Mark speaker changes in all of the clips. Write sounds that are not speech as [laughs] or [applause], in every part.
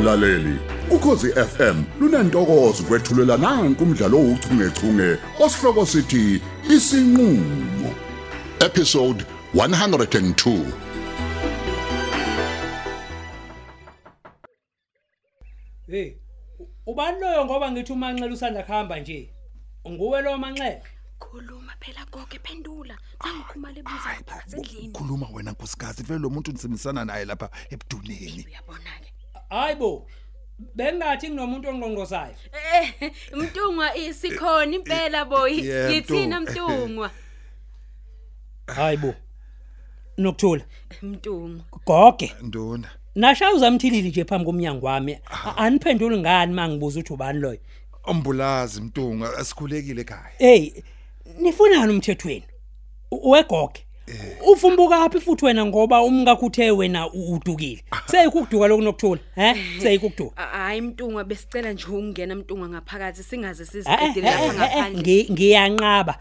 Speaker 1: mlaleli ukhosi FM lunantokozo kwethulela nanku umdlalo ouchungechunge osihloko sithi isinqulo episode 102
Speaker 2: Hey, u- ubani loyo ngoba ngithi umanxele usanda kuhamba nje? Nguwe lo manxele.
Speaker 3: khuluma phela goge phendula nangikhumala ebuzayo phakathi endlini
Speaker 4: khuluma wena nkosikazi vele lo muntu ndisebenzisana naye lapha ebuduneni
Speaker 3: uyabona-ke
Speaker 2: Hayibo. Bengathi nginomuntu ongqongqozayo.
Speaker 3: Eh, mtungwa i- sikhona impela boyi
Speaker 4: Yeah,
Speaker 3: ngithina
Speaker 4: Mtungwa.
Speaker 3: mtungwa
Speaker 2: Hayibo. Nokthula.
Speaker 3: mtungwa
Speaker 2: Goge.
Speaker 4: ndona
Speaker 2: Nashaya uzamthilili nje phambi komnyango wami. A- Aniphenduli ngani mangibuza ukuthi ubani loyo?
Speaker 4: ombulazi mtunga asikhulekile ekhaya
Speaker 2: Hey, nifunani umthethweni? U- Wegoge. Ufumbuka aphi futhi wena ngoba umkakho uthe wena u- udukile. Seyikukuduka lokunokthula, he? Seyikukuduka.
Speaker 3: A- hhayi mtungwa besicela nje ukungena mtungwa ngaphakathi singaze
Speaker 2: Eh,
Speaker 3: sizidedele
Speaker 2: eh,
Speaker 3: lapha
Speaker 2: eh, eh,
Speaker 3: ngaphandle
Speaker 2: ngi- ngiyanqaba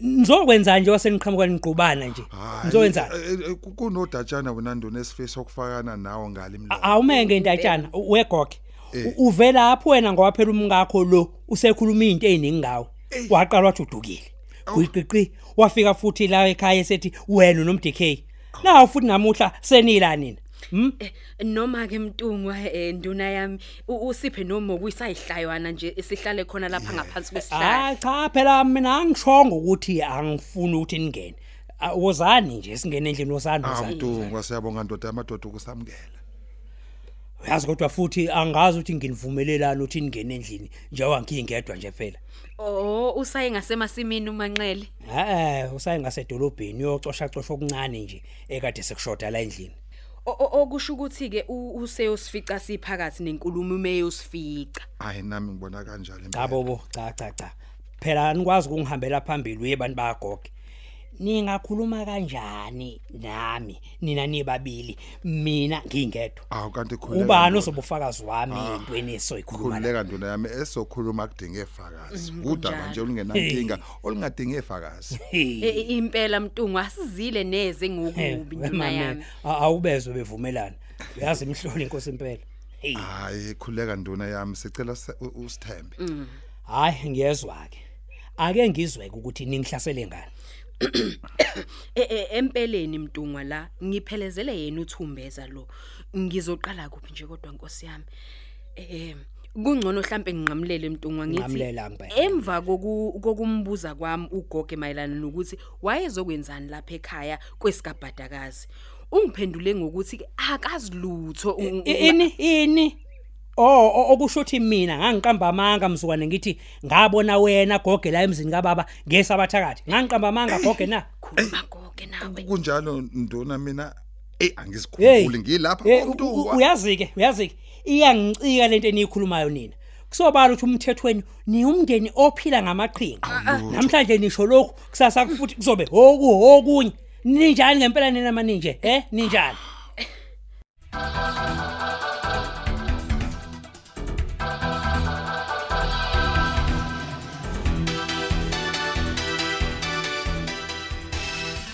Speaker 2: nizokwenza nje waseniqhamuka niqubana nje nizowenza
Speaker 4: eh, kunodatshana wena ndona esifisa ukufakana nawe ngale
Speaker 2: Ah,
Speaker 4: mlo
Speaker 2: awumenge intatshana
Speaker 3: Eh.
Speaker 2: u- wegoge U- uvela apho wena ngoba phela umngakho lo usekhuluma izinto eziningi ngawe waqala wathi udukile kuyiqiqi wafika futhi la ekhaya esethi wena nomdk nawo futhi namuhla senila nina hm
Speaker 3: Eh, noma-ke mtungwa um nduna yami u- usiphe noma okuyisayihlayiwana nje sihlale khona lapha ngaphansi kwesihlala
Speaker 2: hayi cha phela mina angishongo ukuthi angifuni ukuthi ningene Ah, wozani nje singene endlini wozani wozani
Speaker 4: awuntunga Ah, siyabonga ndoda amadoda ukusamukela
Speaker 2: uyazi kodwa futhi angazi ukuthi nginivumelelani ukuthi ningene endlini njengoba ngiyingedwa nje phela
Speaker 3: o Oh, usaye ngasemasimini umanxele
Speaker 2: eh usaye ngasedolobheni uyocosha cosha okuncane nje ekade sekushoda la endlini
Speaker 3: O- o- okusho ukuthi-ke u- useyosifica siphakathi nenkulumo umeyosifica
Speaker 4: hayi nami ngibona kanjalo impela.
Speaker 2: cha bobo cha cha cha phela anikwazi ukungihambela phambili uye abantu bagoge ningakhuluma kanjani nami nina nibabili mina ngingedwa
Speaker 4: awu kanti khuleka
Speaker 2: ubani
Speaker 4: nduna.
Speaker 2: ozobufakazi wami entweni esoyikhuluma la
Speaker 4: khululeka nduna yami esokhuluma kudinge fakazi udaba
Speaker 3: kunjalo.
Speaker 4: nje olungenankinga olungadinge fakazi
Speaker 2: Hey,
Speaker 3: E- e- impela mtungwa asizile neze ngokubi nduna
Speaker 2: mame,
Speaker 3: yami
Speaker 2: a- awubezwe bevumelana uyazi imhloli inkosi impela hey
Speaker 4: hayi khuleka nduna yami sicela se- u- usithembe
Speaker 2: hayi ngiyezwa ke ake ngizweke ukuthi ningihlasele ngani
Speaker 3: E- e- empeleni mtungwa la ngiphelezele yena uthumbeza lo ngizoqala kuphi nje kodwa nkosi yami eh kungcono mhlambe nginqamlele mtungwa ngithi
Speaker 2: ngamlela mpe
Speaker 3: emva koku- kokumbuza kwami ugoge mayelana nokuthi wayezokwenzani lapha ekhaya kwesigabhadakazi ungiphendule ngokuthi ke akazilutho u- u-
Speaker 2: I- ini ini Oh o- okusho ukuthi mina ngangiqamba amanga mzukwane ngithi ngabona wena goge la emzini kababa ngesabathakathi ngangiqamba amanga goge na
Speaker 3: khuluma goge nawe
Speaker 4: kunjalo nduna mina eyi angizikhululi
Speaker 2: Hey
Speaker 4: ngilapha
Speaker 2: Eh,
Speaker 4: Awu,
Speaker 2: u-
Speaker 4: Mtunga.
Speaker 2: u- uyazike uyazike iyancika lento eniyikhulumayo nina kusobala ukuthi umthethweni niumndeni ophila ngamaqhinga namhlanje nisho lokhu kusasa futhi kuzobe hoku hokunye ninjani ngempela nina maninje eh ninjani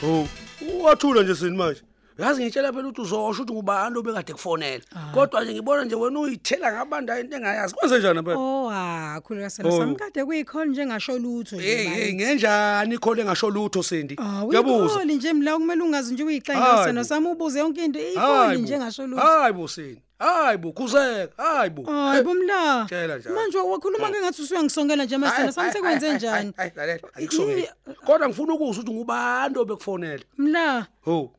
Speaker 5: Oh, wathula nje sini manje. Yazi ngitshela phela ukuthi uzosho ukuthi ngubani obekade kufonela.
Speaker 6: Ah.
Speaker 5: Kodwa nje ngibona nje wena uyithela ngabanda into engayazi. Kwenze njani phela?
Speaker 6: Oh ha khuleka sana
Speaker 5: Oh.
Speaker 6: sami kade kuyikhona nje ngasho lutho nje
Speaker 5: Hey, hey,
Speaker 6: mani.
Speaker 5: ngenjani ikhole ngasho lutho Sindi?
Speaker 6: Ah, uyikholi nje mla kumele ungazi nje
Speaker 5: Hayi
Speaker 6: uyiqenga sana
Speaker 5: bo.
Speaker 6: sami ubuze yonke into
Speaker 5: Hayi
Speaker 6: ikholi
Speaker 5: bo.
Speaker 6: nje ngasho lutho. Oh,
Speaker 5: Hayi bo Sindi. Hayi bo khuzeka. Hayi bo.
Speaker 6: Hayi bomla.
Speaker 5: Tshela njalo.
Speaker 6: Manje wakhuluma ke ngathi usuyangisongela nje masana sami sekwenze njani?
Speaker 5: Hayi, lalela. Ayikusongeli.
Speaker 6: Yi-
Speaker 5: Kodwa ngifuna ukuzwa ukuthi ngubani obekufonela.
Speaker 6: Mla.
Speaker 5: Ho.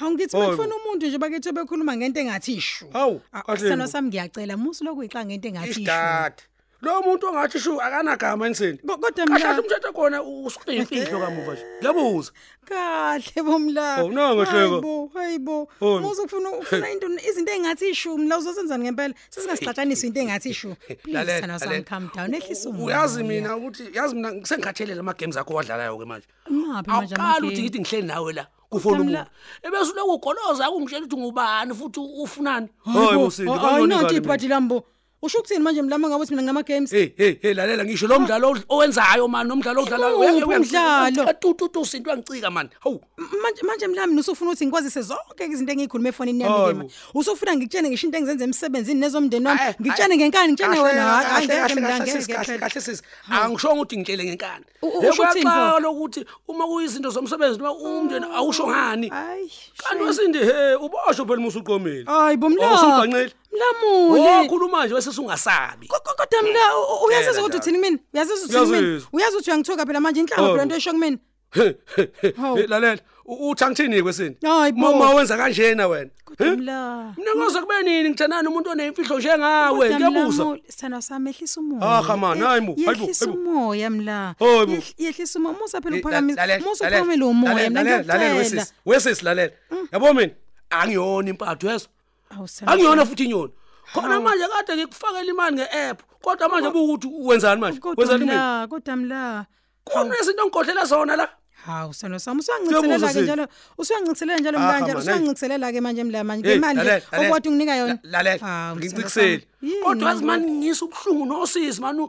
Speaker 6: Awungithi
Speaker 5: Hayi bo.
Speaker 6: bekufuna umuntu nje bakithi bekhuluma ngento engathi ishu.
Speaker 5: Hawu,
Speaker 6: Ah,
Speaker 5: kahle
Speaker 6: Sana
Speaker 5: bo.
Speaker 6: sami ngiyacela musu lokuyiqa ngento engathi ishu.
Speaker 5: Isigadi. Lo muntu ongathi shu akanagama ensini.
Speaker 6: Ko- kodwa mla-
Speaker 5: mhlawumbe umthetho khona usiqinifihlo kamuva nje. Ngiyabuza.
Speaker 6: Kahle bomla.
Speaker 5: Oh, nango hleko.
Speaker 6: Hayibo, hayibo.
Speaker 5: Hayi.
Speaker 6: Musu kufuna ufuna into izinto engathi ishumi la uzosenzani ngempela. Sesingasiqhathanisa into engathi
Speaker 5: [laughs]
Speaker 6: ishumi. Please sana sami calm down ehlisa umoya.
Speaker 5: uyazi mina ukuthi yazi mina ngisengikhathele lama games akho wadlalayo ke manje
Speaker 6: Imaphi manje
Speaker 5: awuqali ukuthi
Speaker 6: ama-game?
Speaker 5: ngithi ngihleli nawe la kufona umuntu ebese ulokhu ugoloza akungitshela ukuthi ngubani futhi ufunani
Speaker 6: oh, Hayibo, ayinanto ibhadi lambo. usho ukuthini manje mlama ngabe uthi mina ngama games
Speaker 5: hey hey hey lalela ngisho lo mdlalo owenzayo mani nomdlalo odlalayo
Speaker 6: Iwuphi umdlalo?
Speaker 5: tututu sinto yangicika mani hawu
Speaker 6: manje manje mlami usufuna ukuthi ngikwazise zonke izinto engiyikhuluma efonini yami
Speaker 5: Hayi
Speaker 6: lema
Speaker 5: bo.
Speaker 6: usufuna ngikutshene ngisho into engizenza emsebenzini nezomndeni wami
Speaker 5: Ayi,
Speaker 6: ngikutshene
Speaker 5: ayi.
Speaker 6: ngenkani ngitshene
Speaker 5: Kahle,
Speaker 6: wena
Speaker 5: kahle,
Speaker 6: hayi
Speaker 5: kahle,
Speaker 6: angeke
Speaker 5: kahle,
Speaker 6: mina
Speaker 5: kahle,
Speaker 6: ngeke
Speaker 5: sis, kahle,
Speaker 6: phela.
Speaker 5: kahle sis angishongo ukuthi ngitshele ngenkani
Speaker 6: U- u- usho uthini, Paul?
Speaker 5: Yekuyaxala ukuthi uma kuyizinto zomsebenzi noma umndeni awusho ngani
Speaker 6: Ayi,
Speaker 5: kanti wesindi he uboshwe phela musu uqomile
Speaker 6: hayi bomlami
Speaker 5: awusubhanqile
Speaker 6: mlamuli
Speaker 5: okhuluma nje wese sungasabi
Speaker 6: Ko- ko- kodwa mla u- u- uyazazi
Speaker 5: Eh, Yena njalo.
Speaker 6: ukuthi
Speaker 5: Oh.
Speaker 6: uthini mina uyazazi ukuthi uthini mina
Speaker 5: Uyazazi.
Speaker 6: uyazi ukuthi uyangithoka phela manje inhlamba
Speaker 5: Hawu.
Speaker 6: phela into esho kumina
Speaker 5: He, he, he.
Speaker 6: Hawu.
Speaker 5: Eh, lalela u- uthi angithini kwesini
Speaker 6: Hayi bo.
Speaker 5: uma wenza kanjena wena He?
Speaker 6: mla
Speaker 5: mina ngoze kube nini ngithandana umuntu onemfihlo njengawe ngiyabuza Eh,
Speaker 6: sithanda sami ehlisa umoya Eh,
Speaker 5: Ah, come on, hayi bo, hayi bo, hayi bo.
Speaker 6: yehlisa umoya mla
Speaker 5: Hayi bo.
Speaker 6: Yehl- yehlisa umoya musa phela
Speaker 5: Eh,
Speaker 6: uphakamisa
Speaker 5: lalela,
Speaker 6: musa
Speaker 5: lalela,
Speaker 6: uphakamela umoya Mm.
Speaker 5: lalela,
Speaker 6: mla
Speaker 5: lalela, lalela,
Speaker 6: ngiyacela
Speaker 5: wesisi, wesisi lalela yabo mina angiyona impatho yezo
Speaker 6: Hawu, sithanda
Speaker 5: angiyona
Speaker 6: sami.
Speaker 5: futhi inyoni khona manje kade ngikufakela imali nge-app kodwa manje bukuthi wenzani manje
Speaker 6: kodwa
Speaker 5: wenzani mina
Speaker 6: mla kodwa mla
Speaker 5: kunezinto ongigodlela zona la
Speaker 6: hawu sithanda sami usuyangichithelela ke
Speaker 5: Sithe.
Speaker 6: njalo usuyangichithelela njalo
Speaker 5: Ah,
Speaker 6: mla
Speaker 5: come
Speaker 6: njalo
Speaker 5: on,
Speaker 6: usuyangichithelela ke manje mla manje
Speaker 5: Hey,
Speaker 6: ngemali
Speaker 5: lalela,
Speaker 6: nje
Speaker 5: lalela.
Speaker 6: okwathi unginika yona
Speaker 5: La- lalela
Speaker 6: Hawu, sithando sami.
Speaker 5: ngikucikiseli
Speaker 6: Yini
Speaker 5: kodwa yazi
Speaker 6: manje?
Speaker 5: mani ngisa ubuhlungu nosisi mani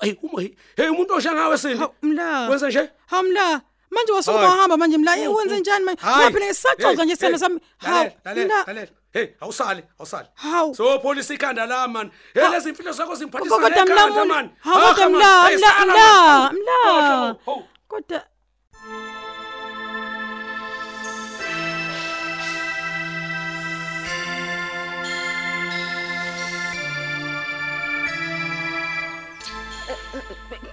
Speaker 5: heyi heyi umuntu osha ngawe sindi
Speaker 6: Hawu, mla
Speaker 5: wenze nje Mm,
Speaker 6: hawu mla manje wasuke
Speaker 5: Hayi.
Speaker 6: wahamba manje mla Eh, wenze njani manje waphela sisaxoxa nje sithando sami hawu mla
Speaker 5: hey awusali awusali
Speaker 6: Hawu.
Speaker 5: sopholisa ikhanda la mani he lezi mfihlo zakho zimphathisa
Speaker 6: kodwa mla
Speaker 5: ngekhanda
Speaker 6: mula
Speaker 5: mani
Speaker 6: hawu kodwa
Speaker 5: Hakha, mani.
Speaker 6: mla
Speaker 5: Hey,
Speaker 6: mla
Speaker 5: sala, mani.
Speaker 6: mla
Speaker 5: Hawu, hawu,
Speaker 6: mla
Speaker 5: hawu.
Speaker 6: kodwa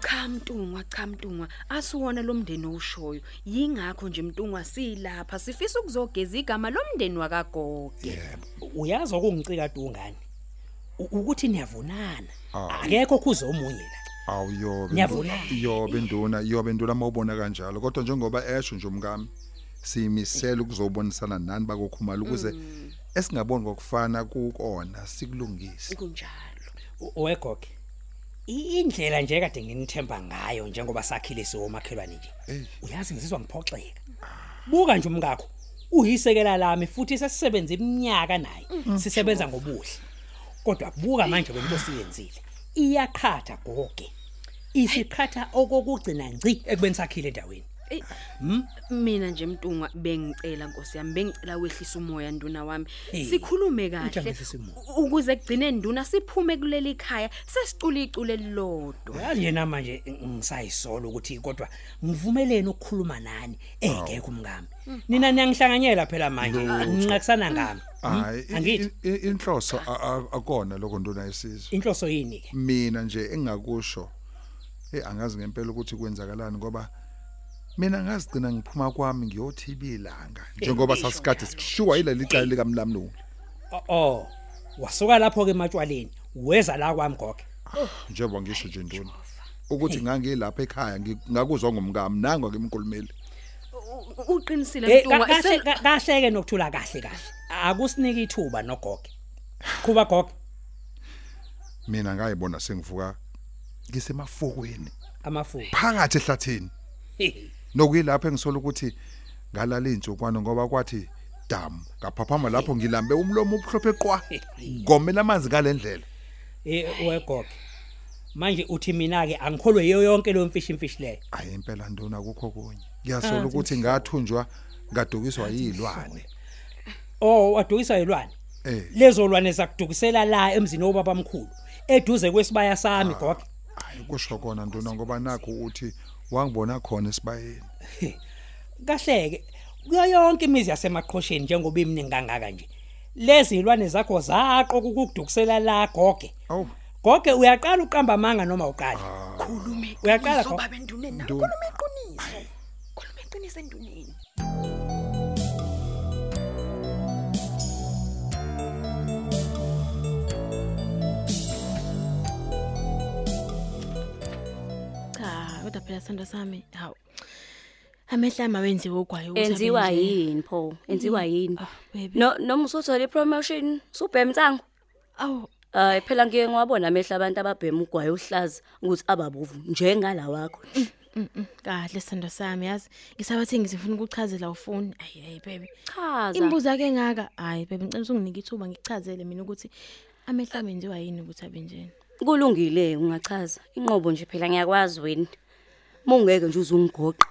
Speaker 3: cha mntungwa cha mntungwa asiwona lo mndeni owushoyo yingakho nje mntungwa silapha sifisa ukuzogeza igama lomndeni wakagoge
Speaker 2: uyazi okungicika dungane ukuthi niyavunana akekho kuze omunye la
Speaker 4: Awu yobe.
Speaker 2: Ngiyavulala.
Speaker 4: Yobe nduna, yobe nduna mawubona kanjalo. Kodwa njengoba esho nje umkami simisela ukuzobonisana nani bakokhumala ukuze
Speaker 2: Mm.
Speaker 4: esingaboni kokufana kukona sikulungise.
Speaker 3: kunjalo
Speaker 2: wegoge i- indlela nje kade nginithemba ngayo njengoba sakhile siwomakhelwane nje uyazi ngizizwa ngiphoxeka buka nje umkakho uyisekela lami futhi sesisebenza iminyaka naye sisebenza ngobuhle kodwa buka manje lento siyenzile iyaqhatha goge isiqhatha okokugcina ngci ekubeni sakhile endaweni
Speaker 3: Eyi,
Speaker 2: Hmm?
Speaker 3: mina nje mntungwa bengicela nkosi yami bengicela wehlisa umoya nduna wami
Speaker 2: Hey,
Speaker 3: sikhulume kahle
Speaker 2: ujabulisise umoya.
Speaker 3: u- ukuze kugcine nduna siphume kuleli khaya sesicula icule elilodwa
Speaker 2: uyazi nje namanje ngisayisola ukuthi kodwa ngivumelene ukukhuluma nani engekho umngami nina niyangihlanganyela phela manje nginqakisana ngami
Speaker 4: Hayi i-
Speaker 2: Mm-hmm. angithi
Speaker 4: i- i- inhloso a- a- akona lokho nduna yesizwe.
Speaker 2: inhloso yini ke
Speaker 4: Mina nje engakusho eh angazi ngempela ukuthi kwenzakalani ngoba mina ngazigcina ngiphuma kwami ngiyothiba ilanga njengoba sasikade sishuwa ileli cala likamlamlungu.
Speaker 2: Oh, oh wasuka lapho ke matshwaleni weza la kwami gogo
Speaker 4: Ah, njengoba ngisho nje ntoni ukuthi ngangilapha ekhaya ngi- ngakuzwa ngumkami nangwa ngimkhulumeli
Speaker 3: U- u- uqinisile
Speaker 2: Eh,
Speaker 3: mntungwa
Speaker 2: ka- kahle
Speaker 3: isel-
Speaker 2: ka- kahle ke nokthula kahle kahle akusinike ithuba nogogo kuba gogo
Speaker 4: mina ngayibona sengivuka ngisemafokweni
Speaker 2: amafuku
Speaker 4: phakathi ehlathini nokuyilapha engisola ukuthi ngalala intsukwana ngoba kwathi dam ngaphaphama lapho ngilambe umlomo ubuhlophe qwa ngomela amanzi ngalendlela
Speaker 2: eh wegogo manje uthi mina ke angikholwe yiyo yonke lo mfishi mfishi leyo
Speaker 4: ayi impela ntona kukho kunye ngiyasola ukuthi ngathunjwa ngadukiswa yilwane
Speaker 2: oh wadukiswa yilwane
Speaker 4: eh
Speaker 2: lezo lwane zakudukisela la emzini wobaba omkhulu eduze kwesibaya sami gogo
Speaker 4: ayi kusho kona ntona ngoba nakho uthi wangibona khona esibayeni
Speaker 2: kahleke kuyo yonke imizi yasemaqhosheni njengoba iminingi kangaka nje lezi ilwane zakho zaqo ukukudukisela la goge
Speaker 4: awu
Speaker 2: goge uyaqala uqamba amanga noma uqali uyaqala gogo
Speaker 3: baba enduneni
Speaker 4: Ntu-
Speaker 3: nakhuluma iqiniso khuluma iqiniso enduneni
Speaker 7: cha kodwa phela sithando sami hawu amehla ama wenziwe ogwayo ukuthi abe
Speaker 8: enziwa
Speaker 7: nje.
Speaker 8: yini pho enziwa yini
Speaker 7: Ah, baby.
Speaker 8: no noma usuthola ipromotion subhemtsango
Speaker 7: awu
Speaker 8: hayi Eh, phela ngike ngiwabona amehla abantu ababhema ugwayo ohlaza ukuthi ababovu njengala wakho
Speaker 7: mm, mm, kahle sithando sami yazi ngisabathe ngizifuna ukuchazela ufuni ayi ayi baby
Speaker 8: chaza
Speaker 7: imbuzo ake ngaka hayi baby ngicela usunginike ithuba ngichazele mina ukuthi amehla ami enziwa yini ukuthi abe njena
Speaker 8: Kulungile ungachaza. Inqobo nje phela ngiyakwazi wena. Mungeke nje uzungigoqa.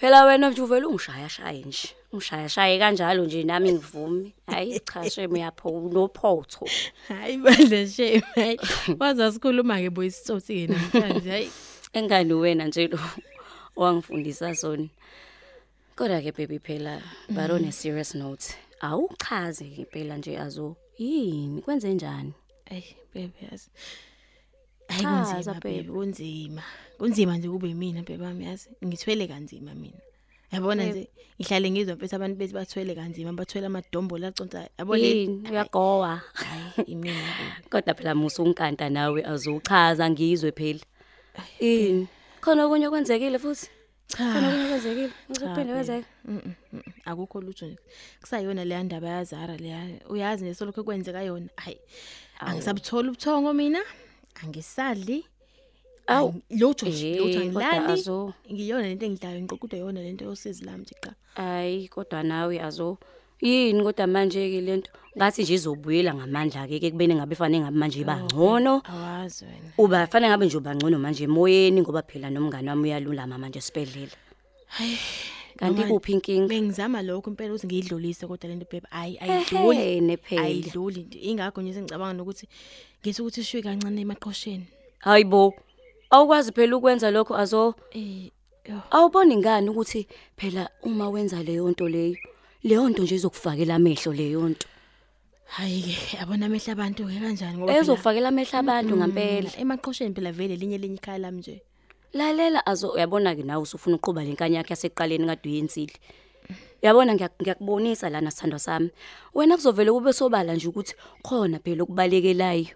Speaker 8: Phela wena nje uvela ungishaya shaye nje. Ungishaya shaye kanjalo nje nami ngivumi. Hayi cha sheme yapho unophotho.
Speaker 7: [laughs] hayi bandla shame hayi waza sikhuluma ke boy isitsotsi ke namhlanje hayi
Speaker 8: Engani wena nje lo [laughs] owangifundisa sona. Kodwa ke baby phela but
Speaker 7: Mm.
Speaker 8: on a serious note. Awuchaze ke phela nje azo yini kwenze njani?
Speaker 7: ayi bebe yazi hayi
Speaker 8: Chaza,
Speaker 7: kunzima bebe
Speaker 8: babe.
Speaker 7: kunzima kunzima nje kube mina bebe wami yazi ngithwele kanzima mina yabona nje ngihlale ngizwa mfethu abantu bethi bathwele kanzima bathwele amadombola aconsa yabona
Speaker 8: Yini uyagowa.
Speaker 7: Hayi, imina bebe
Speaker 8: Kodwa phela musu unkanta nawe azuchaza ngizwe phela. Yini? Khona okunye kwenzekile futhi. Khona
Speaker 7: cha
Speaker 8: okunye kwenzekile. Ngizophinde kwenzeke.
Speaker 7: Mm, mm, mm, akukho lutho nje kusayona leya ndaba yazara leya uyazi nje solokhu kwenzeka yona hayi angisabutholi ubuthongo mina angisadli
Speaker 8: Awu.
Speaker 7: angi- lutho
Speaker 8: Eh,
Speaker 7: nje lutho
Speaker 8: kodwa
Speaker 7: angilali
Speaker 8: azo.
Speaker 7: ngiyona lento engidlayo ngiqoqudwa yona lento yosizi lami nje qa
Speaker 8: Hayi kodwa nawe azo yini kodwa manje ke lento ngathi nje izobuyela ngamandla ke ke kubene ngabe fanele ngabe manje bangcono
Speaker 7: awazi wena
Speaker 8: uba fanele ngabe nje ubangcono manje emoyeni ngoba phela nomngane wami uyalulama manje esibedlela kanti
Speaker 7: noma-
Speaker 8: kuphi inkinga
Speaker 7: bengizama lokho impela ukuthi ngiyidlulise kodwa lento bebe hayi ayidluli
Speaker 8: ayidluli phela
Speaker 7: ayidluli nje ingakho nje sengicabanga nokuthi ngithi ukuthi ishiwe kancane emaqhosheni
Speaker 8: hayibo awukwazi phela ukwenza lokho azo
Speaker 7: eh yo
Speaker 8: awuboni ngani ukuthi phela uma wenza leyo nto leyo leyo nto nje izokufakela amehlo leyo nto
Speaker 7: hayi ke yabona amehla abantu ke kanjani ngoba phela-
Speaker 8: ezofakela amehlo abantu ngampela
Speaker 7: Mm, emaqhosheni phela vele linye linye ikhaya lami nje
Speaker 8: lalela azo uyabona ke nawe usufuna uqhuba lenkanya yakhe yaseqaleni kade uyensile yabona ngiya- ngiyakubonisa lana sithandwa sami wena kuzovele kube sobala nje ukuthi khona phela okubalekelayo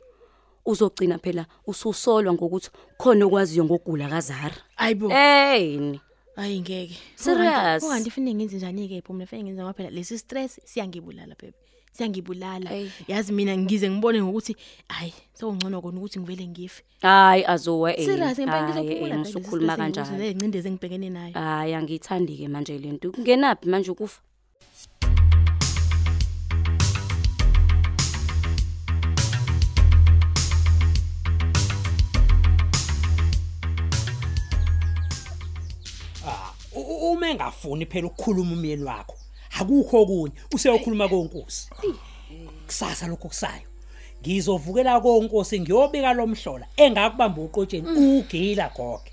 Speaker 8: uzogcina phela ususolwa ngokuthi khona okwaziyo ngogula kazara
Speaker 7: ayibo
Speaker 8: eyini
Speaker 7: hayi ngeke
Speaker 8: Serious?
Speaker 7: kanti fanele ngenze njani ke phumla fanele ngenze ngoba phela lesi stress siyangibulala bebe siyangibulala
Speaker 8: Ayi.
Speaker 7: yazi mina ngize ngibone ngokuthi hayi sewungcono kona ukuthi ngivele ngife
Speaker 8: hayi azowe
Speaker 7: serious ngempela ngizophumula
Speaker 8: ngizokhuluma kanjani
Speaker 7: nezincindezi engibhekene nayo
Speaker 8: hayi angiyithandi-ke manje le nto kungenaphi manje ukufa
Speaker 2: U- u- uma engafuni phela ukukhuluma umyeni wakho akukho okunye useyokhuluma konkosi kusasa lokho kusayo ngizovukela konkosi ngiyobika lomhlola engakubamba uqotsheni ugila goge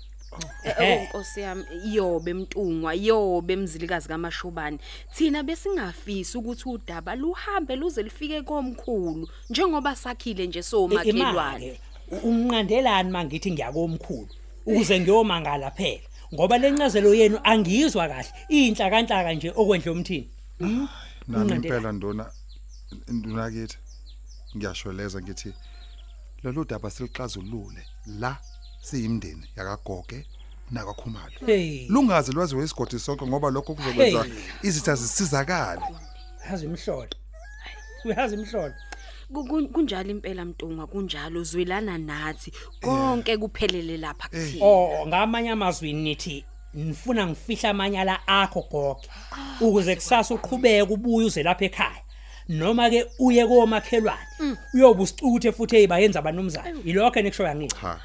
Speaker 2: Ehe.
Speaker 3: Eh, Nkosi yami yobe mtungwa yobe mzilikazi kamashobane thina besingafisi ukuthi udaba luhambe luze lifike komkhulu njengoba sakhile nje
Speaker 2: I- ima
Speaker 3: somakhelwane
Speaker 2: ke, u- umnqandelani mangithi ngiyakomkhulu ukuze ngiyomangala phela ngoba lencazelo yenu angiyizwa kahle inhlakanhlaka nje okwendle umthini
Speaker 4: nami
Speaker 2: Unqandela.
Speaker 4: impela ndona nduna kithi ngiyashweleza ngithi lolu daba silixazulule la siyimndeni yakagoge nakakhumalo
Speaker 2: hey
Speaker 4: lungaze lwaziwe isigodi sonke ngoba lokho kuzokwenza
Speaker 2: Hey.
Speaker 4: izitha zisizakale
Speaker 2: yazi imhlola uyazi imhlola
Speaker 3: Ku- ku- kunjalo impela mtungwa kunjalo zwelana nathi konke kuphelele lapha kuthina
Speaker 2: Oh ngamanye amazwi nithi nifuna ngifihla amanyala akho gogo ukuze kusasa uqhubeke ubuye uze lapha ekhaya noma ke uye komakhelwane uyobe usicuthe futhi ezibayenza abanomzana yilokho enikushoya ngini
Speaker 4: cha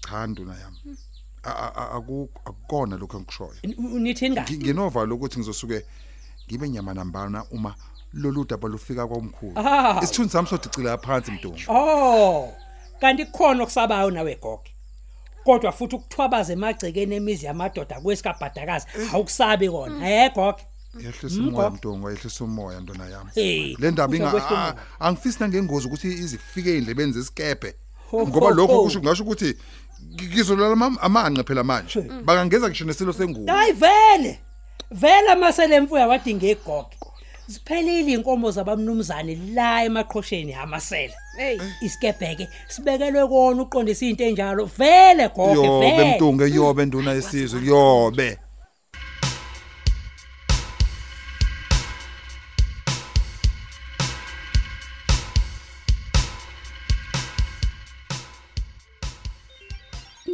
Speaker 4: cha nduna yami A- a- a- aku- akukona lokho engikushoyo
Speaker 2: N- u- nithini
Speaker 4: Ngi-
Speaker 2: kahle
Speaker 4: nginovalo ukuthi ngizosuke ngibe nyama nambana uma lolu daba lufika kwamkhulu
Speaker 2: Ah.
Speaker 4: isithunzi sami sodicila phansi mntungu
Speaker 2: oh kanti kukhona okusabayo nawe gogo kodwa futhi ukuthwabaza emagcekeni emizi yamadoda kwesikabhadakazi awukusabi kona eh gogo
Speaker 4: yehlisa umoya mntungu yehlisa umoya ndona yami
Speaker 2: Mm, Hey,
Speaker 4: le ndaba
Speaker 2: kutsho
Speaker 4: inga-
Speaker 2: kwehlo
Speaker 4: a-
Speaker 2: umoya.
Speaker 4: angifisi nangengozi ukuthi izifike ey'ndlebeni zesikebhe
Speaker 2: Ho,
Speaker 4: ngoba
Speaker 2: ho,
Speaker 4: lokho
Speaker 2: ho.
Speaker 4: kusho ngasho ukuthi ngizolala amanqe phela manje bangangeza ngisho nesilo sengubo
Speaker 2: Hayi vele. Vele amasele mfuya wadinga igogo. Siphelile inkomo zabamnumzane la emaqhosheni amasela.
Speaker 3: hey
Speaker 2: Isikebheke sibekelwe kona uqondisa izinto enjalo. Vele gogo
Speaker 4: yobe
Speaker 2: vele.
Speaker 4: mntungu eyobe nduna yesizwe yobe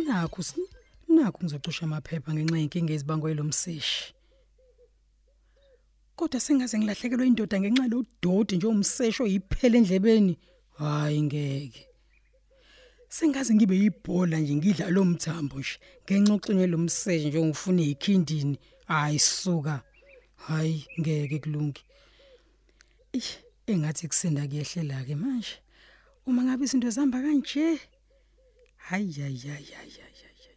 Speaker 6: nakho si- nakho ngizocusha amaphepha ngenxa yenkinga ezibangwe lomseshi kodwa sengaze ngilahlekelwe indoda ngenxa lododi nje umseshi oyiphele endlebeni Hayi ngeke. Sengaze ngibe yibhola nje ngidla lo mthambo nje. Ngenxoxinye lo mseje nje ngifuna ikhindini. Hayi suka. Hayi ngeke kulungi. Eish, engathi kusinda kuyehlela ke manje. Uma ngabe izinto zihamba kanje. Hayi hayi hayi hayi hayi.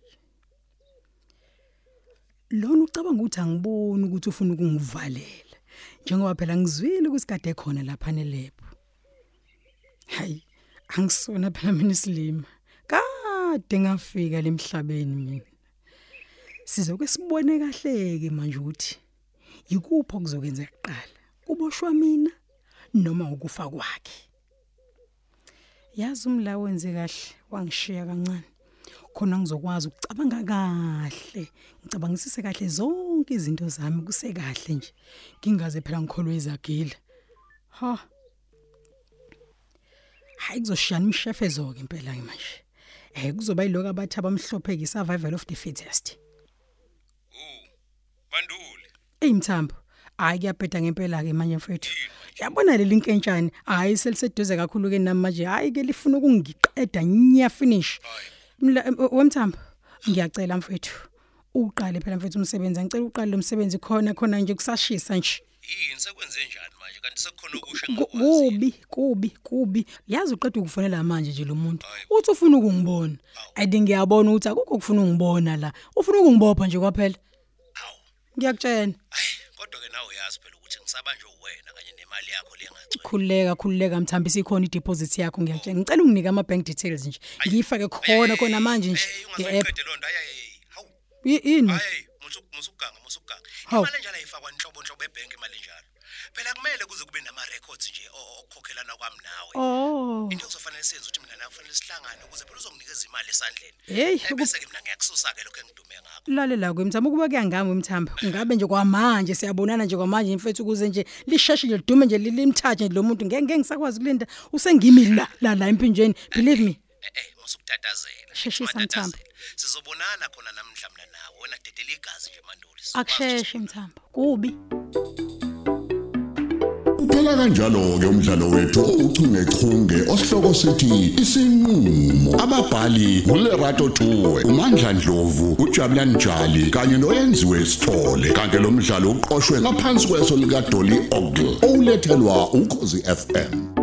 Speaker 6: Lona ucabanga ukuthi angiboni ukuthi ufuna ukungivalela. Njengoba phela ngizwile ukuthi kade khona lapha nelebo. Hayi, angisona phela mina isilima. Kade ngafika lemhlabeni mina. Sizoke sibone kahleke manje ukuthi yikuphi okuzokwenza kuqala. Kuboshwa mina noma ukufa kwakhe. Yazi umla wenze kahle wangishiya kancane. Khona ngizokwazi ukucabanga kahle. Ngicabangisise kahle zonke izinto zami kusekahle nje. Ngingaze phela ngikholwe izagila. Ha. hayi kuzoshiyana imshefezo ke impela ke manje eh kuzoba yiloko abathi abamhlophe ke survival of the fittest
Speaker 9: Banduli.
Speaker 6: eyi mthambo hayi kuyabheda ngempela ke manje mfethu yabona leli nkentshane hayi seliseduze kakhulu ke nami manje hayi ke lifuna ukungiqeda nya finish Mla- em- wemthambo ngiyacela mfethu uqale phela mfethu umsebenzi ngicela uqale lo msebenzi khona khona nje kusashisa nje
Speaker 9: Yini sekwenze njani manje kanti sekukhona okusha
Speaker 6: Ku-
Speaker 9: engakwazi.
Speaker 6: kubi kubi kubi yazi uqeda ukufonela manje nje lo muntu uthi ufuna ukungibona ayi ngiyabona ukuthi akukho ukufuna ukungibona la ufuna ukungibopha nje kwaphela ngiyakutshena
Speaker 9: Kodwa ke nawe uyazi phela ukuthi ngisabanjwe uwena kanye nemali yakho lengacwe.
Speaker 6: khululeka khululeka mthambisa ikhona ideposit yakho ngiyakutshena ngicela unginike ama bank details nje ngiyifake khona khona manje nje nge-app
Speaker 9: Ungazoyiqede lonto ayaye. Hawu.
Speaker 6: I- ini
Speaker 9: Hayi, musu musuganga musuganga.
Speaker 6: Hawu.
Speaker 9: Imali enjalo ayifakwa inhlobo inhlobo ebank imali enjalo. Phela kumele kuze kube nama records nje o- okukhokhelana kwami nawe.
Speaker 6: oh
Speaker 9: Into okuzofanele senze ukuthi mina nawe kufanele sihlangane ukuze phela uzonginikeza imali esandleni.
Speaker 6: hey
Speaker 9: Eh, Bese ke mina ngiyaksusa ke lokho engidume ngakho.
Speaker 6: lalela kwemthamba ukuba kuyangami wemthamba ngabe nje kwamanje siyabonana nje kwamanje mfethu ukuze nje lisheshe nje lidume nje limthathe nje lo muntu ngeke ngeke ngisakwazi ukulinda usengimi la la la empinjweni believe me
Speaker 9: Eh eh, musukutatazela.
Speaker 6: Sheshisa,
Speaker 9: Ungatatazela.
Speaker 6: Mthambo.
Speaker 9: Sizobonana khona namhla mina nawe. Wena dedele igazi nje mandoli. Sizokwazi
Speaker 6: akusheshe mthamba kubi
Speaker 1: Kuphela kanjalo ke umdlalo wethu ouchungechunge osihloko sithi isinqulo. Ababhali ngulerato Thuwe, uMandla Dlovu, uJabulani Njali kanye noyenziwe Sithole. Kanti lo mdlalo uqoqwwe ngaphansi kweso lika Dolly Ogle, olethelwa ukhozi FM.